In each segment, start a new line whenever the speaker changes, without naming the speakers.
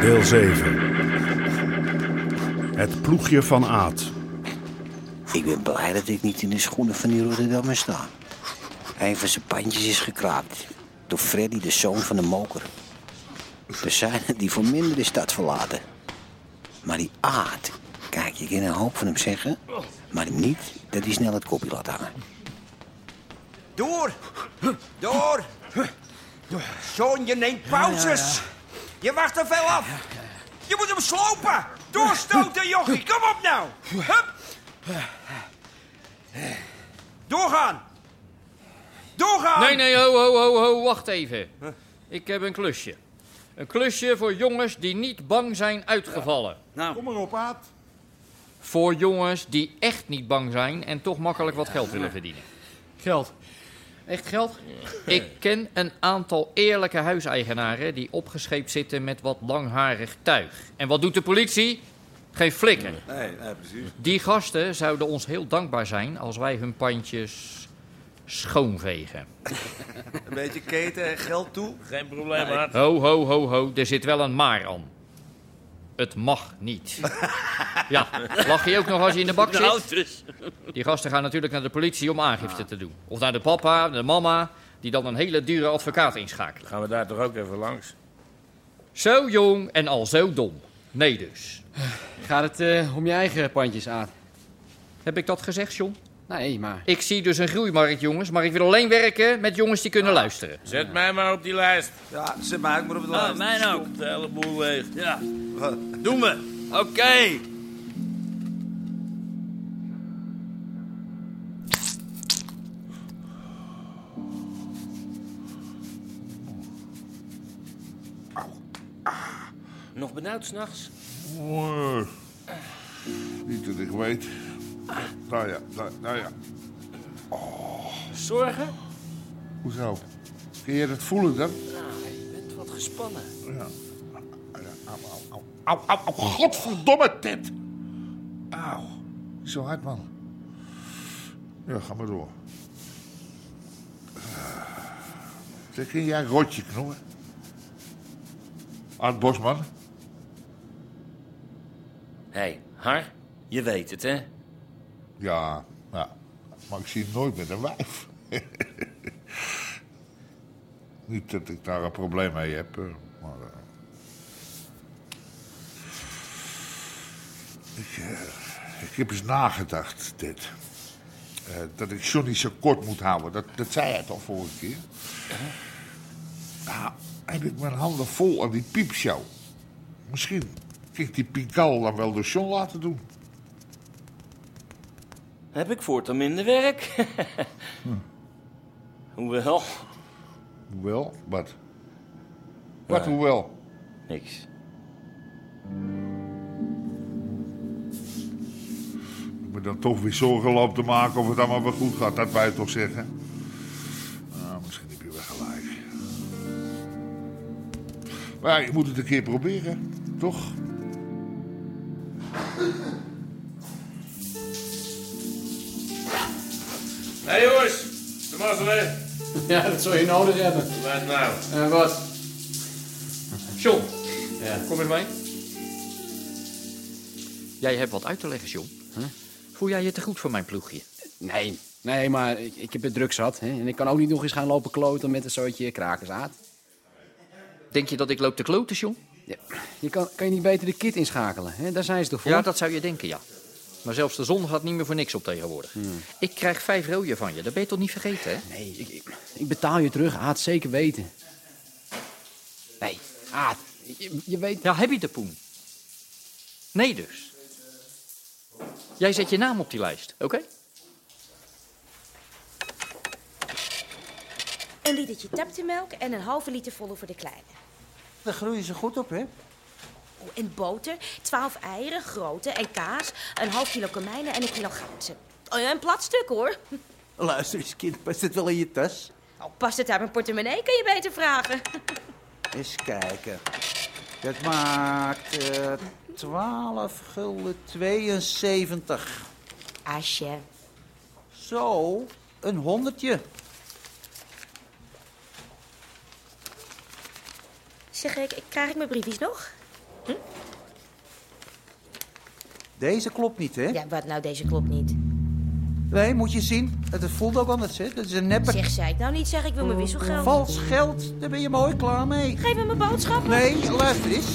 Deel 7. Het ploegje van Aad.
Ik ben blij dat ik niet in de schoenen van die Rotterdammer sta. Een van zijn pandjes is gekraapt. Door Freddy, de zoon van de moker. Er zijn er die voor minder de stad verlaten. Maar die aard, kijk, je kan een hoop van hem zeggen. Maar niet dat hij snel het kopje laat hangen.
Door! Door! Zoon, je neemt pauzes! Je wacht er veel af! Je moet hem slopen! Doorstoten, jochie! Kom op nou! Hup! Doorgaan! Doorgaan!
Nee, nee, ho, ho, ho, ho, wacht even. Ik heb een klusje. Een klusje voor jongens die niet bang zijn uitgevallen.
Nou.
Kom maar op, Aad.
Voor jongens die echt niet bang zijn en toch makkelijk wat geld willen verdienen.
Geld. Echt geld?
Ik ken een aantal eerlijke huiseigenaren die opgescheept zitten met wat langharig tuig. En wat doet de politie? Geen flikken.
Nee, nee precies.
Die gasten zouden ons heel dankbaar zijn als wij hun pandjes schoonvegen.
Een beetje keten en geld toe.
Geen probleem, maar
Ho, ho, ho, ho, er zit wel een maar aan. Het mag niet. Ja, lach je ook nog als je in de bak
Nou,
zit?
dus.
Die gasten gaan natuurlijk naar de politie om aangifte te doen. Of naar de papa, de mama, die dan een hele dure advocaat inschakelen.
Gaan we daar toch ook even langs?
Zo jong en al zo dom. Nee dus.
Gaat het eh, om je eigen pandjes, Aad?
Heb ik dat gezegd, John?
Nee, maar...
Ik zie dus een groeimarkt, jongens, maar ik wil alleen werken met jongens die kunnen luisteren.
Zet mij maar op die lijst.
Ja, zet mij ook maar op het
Ah,
Oh,
lijst.
mijn ook.
De hele boel leeg.
Ja. Doen we. Oké.
Nog benauwd s'nachts?
Oeh, Niet dat ik weet. Nou ja, nou, nou ja.
Zorgen?
Hoezo? Kun je dat voelen dan?
Nou, je bent wat gespannen.
Au, au, au. Au, au, au. Godverdomme, Ted. Auw. Zo hard, man. Ja, ga maar door. Zeg, kun jij een rotje knoppen? Art Bosman?
Hé, hey, Har, je weet het, hè?
Ja, ja. Maar ik zie hem nooit met een wijf. Niet dat ik daar een probleem mee heb, eh, maar... eh, ik, eh, ik heb eens nagedacht, dit. Eh, dat ik Johnny zo kort moet houden. Dat, dat zei hij toch vorige keer? Nou, heb ik mijn handen vol aan die piepshow. Misschien kan ik die Pikal dan wel door John laten doen.
Heb ik voortaan minder werk? Hm. Hoewel,
Hoewel, wat? Wat hoewel?
niks.
Ik ben dan toch weer zorgen loop te maken of het allemaal wel goed gaat. Dat wij toch zeggen? Nou, misschien heb je wel gelijk. Maar je moet het een keer proberen, toch?
Hé, hey, jongens. De mazzel,
Ja, dat zou je nodig hebben.
Laat nou.
En wat?
John,
Ja.
kom eens mee. Jij hebt wat uit te leggen, John. Voel jij je te goed voor mijn ploegje?
Nee. Nee, maar ik, ik heb het druk zat. Hè? En ik kan ook niet nog eens gaan lopen kloten met een soortje krakers, Aad.
Denk je dat ik loop te kloten, John?
Ja. Je kan, kan je niet beter de kit inschakelen? Hè? Daar zijn ze toch voor?
Ja, dat zou je denken, ja. Maar zelfs de zon gaat niet meer voor niks op tegenwoordig. Ik krijg vijf rooien van je, dat ben je toch niet vergeten, hè?
Nee, ik, ik, ik betaal je terug, Aad. Zeker weten. Nee, Aad. Je, je weet...
Ja, heb je de poen? Nee dus. Jij zet je naam op die lijst, oké?
Een literje taptemelk en een halve liter volle voor de kleine.
Daar groeien ze goed op, hè?
Oh, En boter, 12 eieren, grote en kaas, een half kilo komijnen en een kilo ganzen. Oh, ja, een plat stuk hoor.
Luister eens, kind, past het wel in je tas?
Oh, past het uit mijn portemonnee, kan je beter vragen.
Eens kijken. Dat maakt eh 12 gulden 72.
Asje.
Zo, een honderdje.
Zeg, ik, ik- krijg ik mijn briefjes nog?
Deze klopt niet, hè?
Ja, wat nou, deze klopt niet.
Nee, moet je zien. Het voelt ook anders, hè? Dat is een neppe...
Zeg, zei ik nou niet, zeg, ik wil mijn wisselgeld.
Vals geld, daar ben je mooi klaar mee.
Geef me mijn boodschappen.
Nee, luister eens.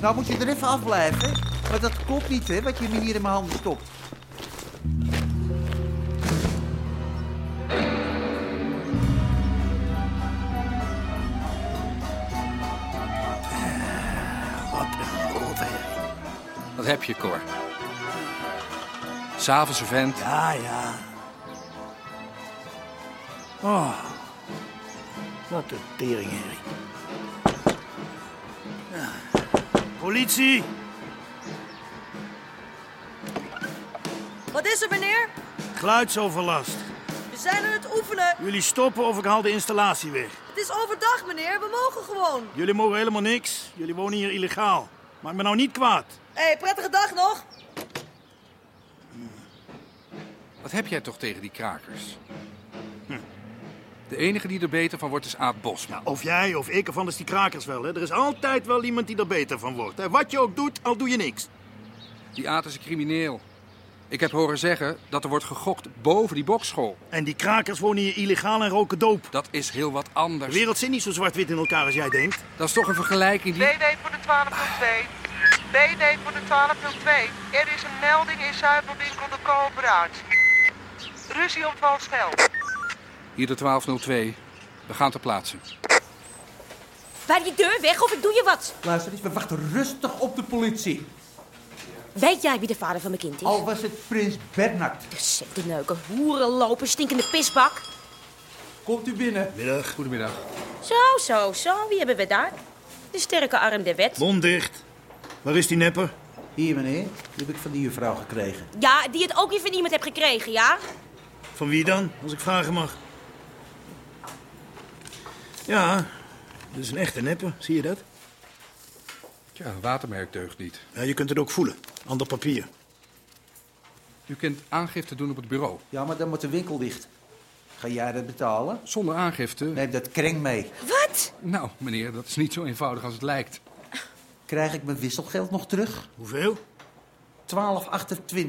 Nou moet je er even afblijven. Maar dat klopt niet, hè, wat je me hier in mijn handen stopt.
Wat heb je, Cor? S'avonds een vent.
Ja, ja.
Oh,
wat een teringherrie.
Politie!
Wat is er, meneer?
Geluidsoverlast.
We zijn aan het oefenen.
Jullie stoppen of ik haal de installatie weg.
Het is overdag, meneer. We mogen gewoon.
Jullie mogen helemaal niks. Jullie wonen hier illegaal. Maak me nou niet kwaad.
Hé, hey, prettige dag nog.
wat heb jij toch tegen die krakers? Hm. De enige die er beter van wordt is Aad Bosman.
Of jij of ik of anders die krakers wel. Hè? Er is altijd wel iemand die er beter van wordt. Hè? Wat je ook doet, al doe je niks.
Die Aad is een crimineel. Ik heb horen zeggen dat er wordt gegokt boven die bokschool.
En die krakers wonen hier illegaal en roken doop.
Dat is heel wat anders.
De wereld zit niet zo zwart-wit in elkaar als jij denkt.
Dat is toch een vergelijking die...
DD voor de 1202. DD voor de 1202. Er is een melding in zuivelwinkel de Kooperaard. Ruzie om vals geld.
Hier de 1202. We gaan ter plaatse.
Waar die deur weg of ik doe je wat.
Luister eens, we wachten rustig op de politie.
Weet jij wie de vader van mijn kind is?
Oh.
Al was het prins Bernard.
Zet de neuken, hoeren lopen, stinkende pisbak.
Komt u binnen.
Middag.
Goedemiddag.
Zo, zo, zo, wie hebben we daar? De sterke arm der wet.
Mond dicht. Waar is die nepper?
Hier, meneer. Die heb ik van die juffrouw gekregen.
Ja, die het ook weer van iemand hebt gekregen, ja?
Van wie dan, als ik vragen mag? Ja, dat is een echte nepper. Zie je dat?
Ja, een watermerk deugt niet.
Ja, je kunt het ook voelen. Ander papier.
U kunt aangifte doen op het bureau.
Ja, maar dan moet de winkel dicht. Ga jij dat betalen?
Zonder aangifte?
Neem dat kreng mee.
Wat?
Nou, meneer, dat is niet zo eenvoudig als het lijkt.
Krijg ik mijn wisselgeld nog terug?
Hoeveel?
12,28.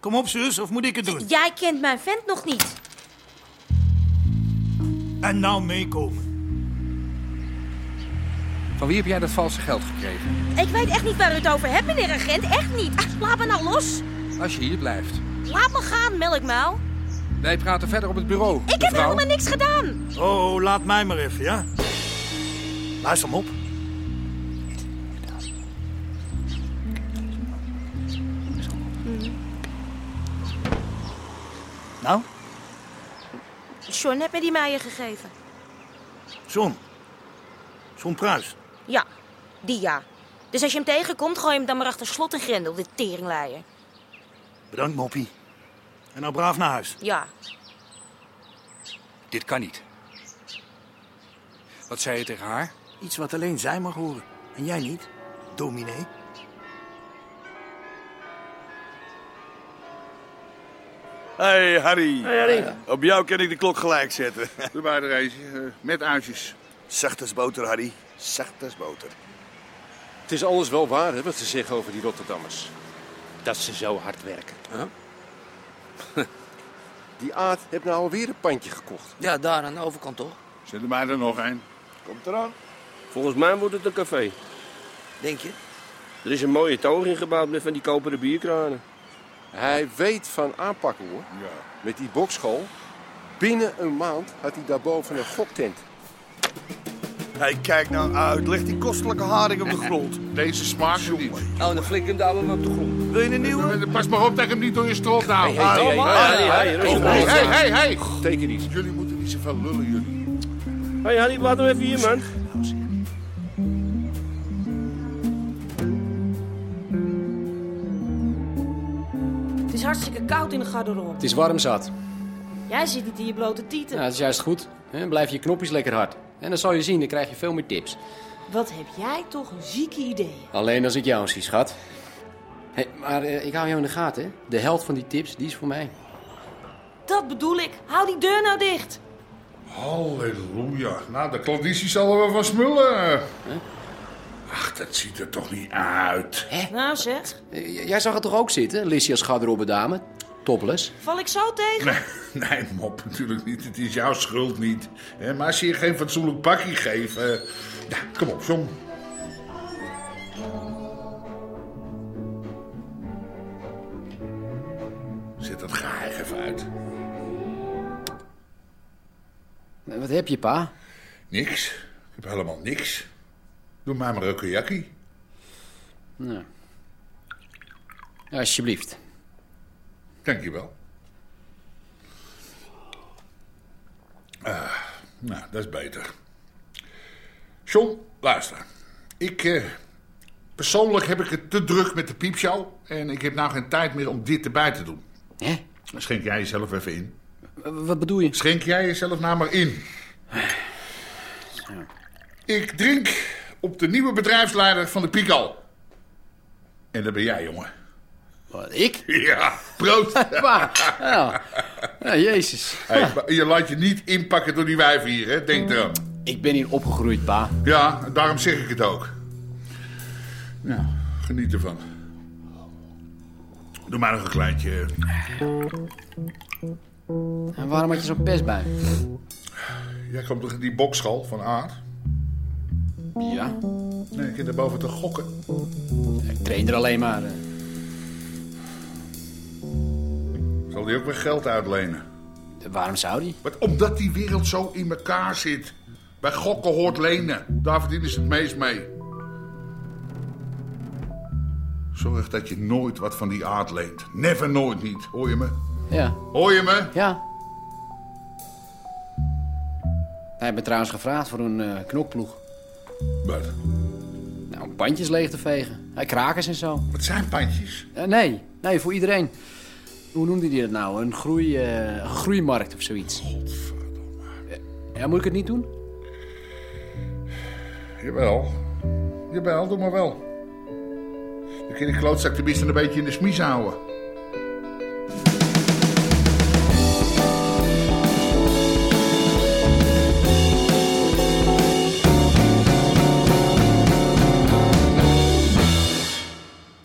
Kom op, zus, of moet ik het doen?
Jij kent mijn vent nog niet.
En nou meekomen.
Van wie heb jij dat valse geld gekregen?
Ik weet echt niet waar u het over hebt, meneer agent. Echt niet. Ach, laat me nou los.
Als je hier blijft.
Laat me gaan, melkmuil.
Wij praten verder op het bureau.
Ik heb helemaal niks gedaan.
Oh, laat mij maar even, ja? Luister hem op. Nou,
John heb je die mij gegeven.
John. John Pruis.
Ja, die ja. Dus als je hem tegenkomt, gooi hem dan maar achter slot en grendel, de teringleier.
Bedankt, Moppie. En nou braaf naar huis.
Ja,
Dit kan niet. Wat zei je tegen haar?
Iets wat alleen zij mag horen. En jij niet, dominee.
Hey Harry.
Hey, Harry.
Op jou kan ik de klok gelijk zetten. Doe maar er Eh, met uitjes. Zacht als boter, Harry. Zacht als boter.
Het is alles wel waar hè, wat ze zeggen over die Rotterdammers. Dat ze zo hard werken. Die Aad heeft nou alweer een pandje gekocht.
Ja, daar aan de overkant toch?
Zet er maar er nog een. Komt eraan.
Volgens mij wordt het een café.
Denk je?
Er is een mooie toog ingebouwd met van die koperen bierkranen. Hij weet van aanpakken hoor. Met die bokschool. Binnen een maand had hij daarboven een goktent.
Hey, kijk nou uit. Leg die kostelijke haring op de grond. Deze smaakt niet. Oh, dan flik hem daar wel op de grond. Wil je een nieuwe? Pas maar op dat ik hem niet door je strot haalt.
Hey, hey, hey, hey, hey, hey, rustig.
hey, hey, hey.
Teken niet.
Jullie moeten die Niet zoveel lullen jullie.
Hé, hey, Harry, laat hem even hier, man.
Het is hartstikke koud in de garderobe.
Het is warm zat.
Jij zit niet in je blote tieten.
Nou, dat is juist goed. hè. Blijf je knopjes lekker hard. En dan zal je zien, dan krijg je veel meer tips.
Wat heb jij toch een zieke idee?
Alleen als ik jou zie, schat. Hé, maar eh, ik hou jou in de gaten, hè. De helft van die tips, die is voor mij.
Dat bedoel ik. Hou die deur nou dicht.
Halleluja. Nou, de klanditie zal er wel van smullen. Ach, dat ziet er toch niet uit.
Nou zeg,
Eh, j- jij zag het toch ook zitten, Lissy als garderobedame? Topless.
val ik zo tegen?
Nee, nee, mop, natuurlijk niet. Het is jouw schuld niet. Hè, Maar als je je geen fatsoenlijk pakje geeft... eh, ja, kom op, John. Zet dat geheim even uit.
Eh, Wat heb je, pa?
Niks. Ik heb helemaal niks. Doe mij maar een kajakkie.
Nou. Alsjeblieft.
Dankjewel. Ah, nou, dat is beter. John, luister. Ik, eh, persoonlijk heb ik het te druk met de piepshow... en ik heb nou geen tijd meer om dit erbij te doen.
Hè?
Schenk jij jezelf even in.
Wat bedoel je?
Schenk jij jezelf nou maar in. Ik drink op de nieuwe bedrijfsleider van de Pico. En dat ben jij, jongen.
Wat, ik?
Ja, proost.
Waar? jezus.
je laat je niet inpakken door die wijven hier, hè? Denk erom.
Ik ben hier opgegroeid, pa.
Ja, daarom zeg ik het ook. Nou, geniet ervan. Doe maar nog een kleintje.
En waarom had je zo'n pest bij?
Jij komt toch in die boksschal van Aard?
Ja,
Nee, ik zit daarboven te gokken.
ik train er alleen maar. eh.
Zal die ook weer geld uitlenen?
Waarom zou die?
Wat, omdat die wereld zo in elkaar zit. Bij gokken hoort lenen. Daar verdienen ze het meest mee. Zorg dat je nooit wat van die aard leent. Never nooit niet. Hoor je me?
Ja.
Hoor je me?
Ja. Hij heeft me trouwens gevraagd voor een eh, knokploeg.
Wat?
Nou, om pandjes leeg te vegen. Hij krakers en zo. Eh,
Wat zijn pandjes?
nee, nee, voor iedereen. Hoe noemde hij dat nou? Een groei, eh, een groeimarkt of zoiets. Eh, Ja, moet ik het niet doen?
Jawel. Jawel, doe maar wel. Dan kun je de klootzak tenminste een beetje in de smies houden.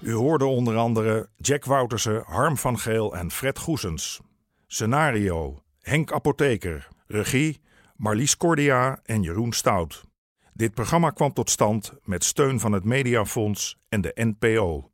U hoorde onder andere Jack Woutersen, Harm van Geel en Fred Goesens. Scenario: Henk Apotheker. Regie: Marlies Cordia en Jeroen Stout. Dit programma kwam tot stand met steun van het Mediafonds en de NPO.